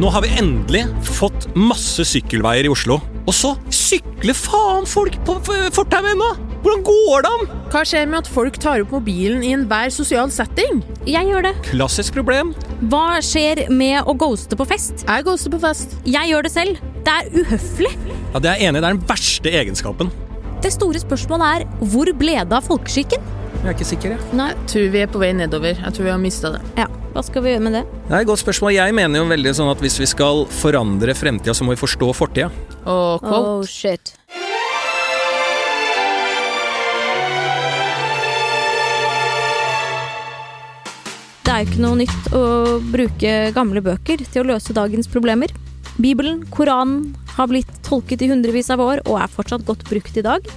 Nå har vi endelig fått masse sykkelveier i Oslo. Og så sykler faen folk på f- fortauet ennå! Hvordan går det an? Hva skjer med at folk tar opp mobilen i enhver sosial setting? Jeg gjør det. Klassisk problem. Hva skjer med å ghoste på fest? Jeg ghoster på fest. Jeg gjør det selv. Det er uhøflig. Ja, Det er jeg enig i. Det er den verste egenskapen. Det store spørsmålet er hvor ble det av folkeskikken? Jeg er ikke sikker, jeg. Nei, Tror vi er på vei nedover. Jeg tror vi har mista det. ja, hva skal vi gjøre med det? Det er et godt spørsmål. Jeg mener jo veldig sånn at hvis vi skal forandre fremtida, så må vi forstå fortida. Og quote. Oh, shit. Det er jo ikke noe nytt å bruke gamle bøker til å løse dagens problemer. Bibelen, Koranen, har blitt tolket i hundrevis av år og er fortsatt godt brukt i dag.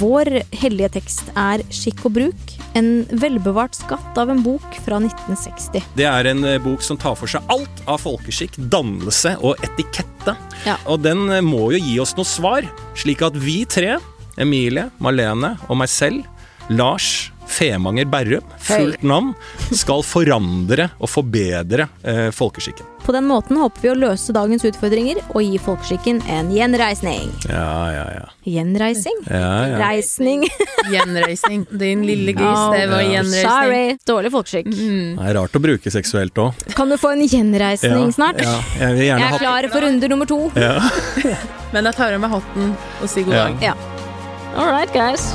Vår hellige tekst er Skikk og bruk, en velbevart skatt av en bok fra 1960. Det er en eh, bok som tar for seg alt av folkeskikk, dannelse og etikette. Ja. Og den eh, må jo gi oss noe svar, slik at vi tre, Emilie, Marlene og meg selv, Lars Femanger Berrum, fullt navn, skal forandre og forbedre eh, folkeskikken. På den måten håper vi å løse dagens utfordringer og gi folkeskikken en gjenreisning. Ja, ja, ja. Gjenreising? ja, ja. Reisning. Gjenreising. Din lille gris, det var Ja. gjenreisning. Sorry. Dårlig folkeskikk. Det er rart å bruke seksuelt òg. Kan du få en gjenreisning snart? Ja, jeg vil Jeg gjerne er ha klar for runde nummer to. ja. Men jeg tar av meg hatten og sier god Ja. dag. All right, guys.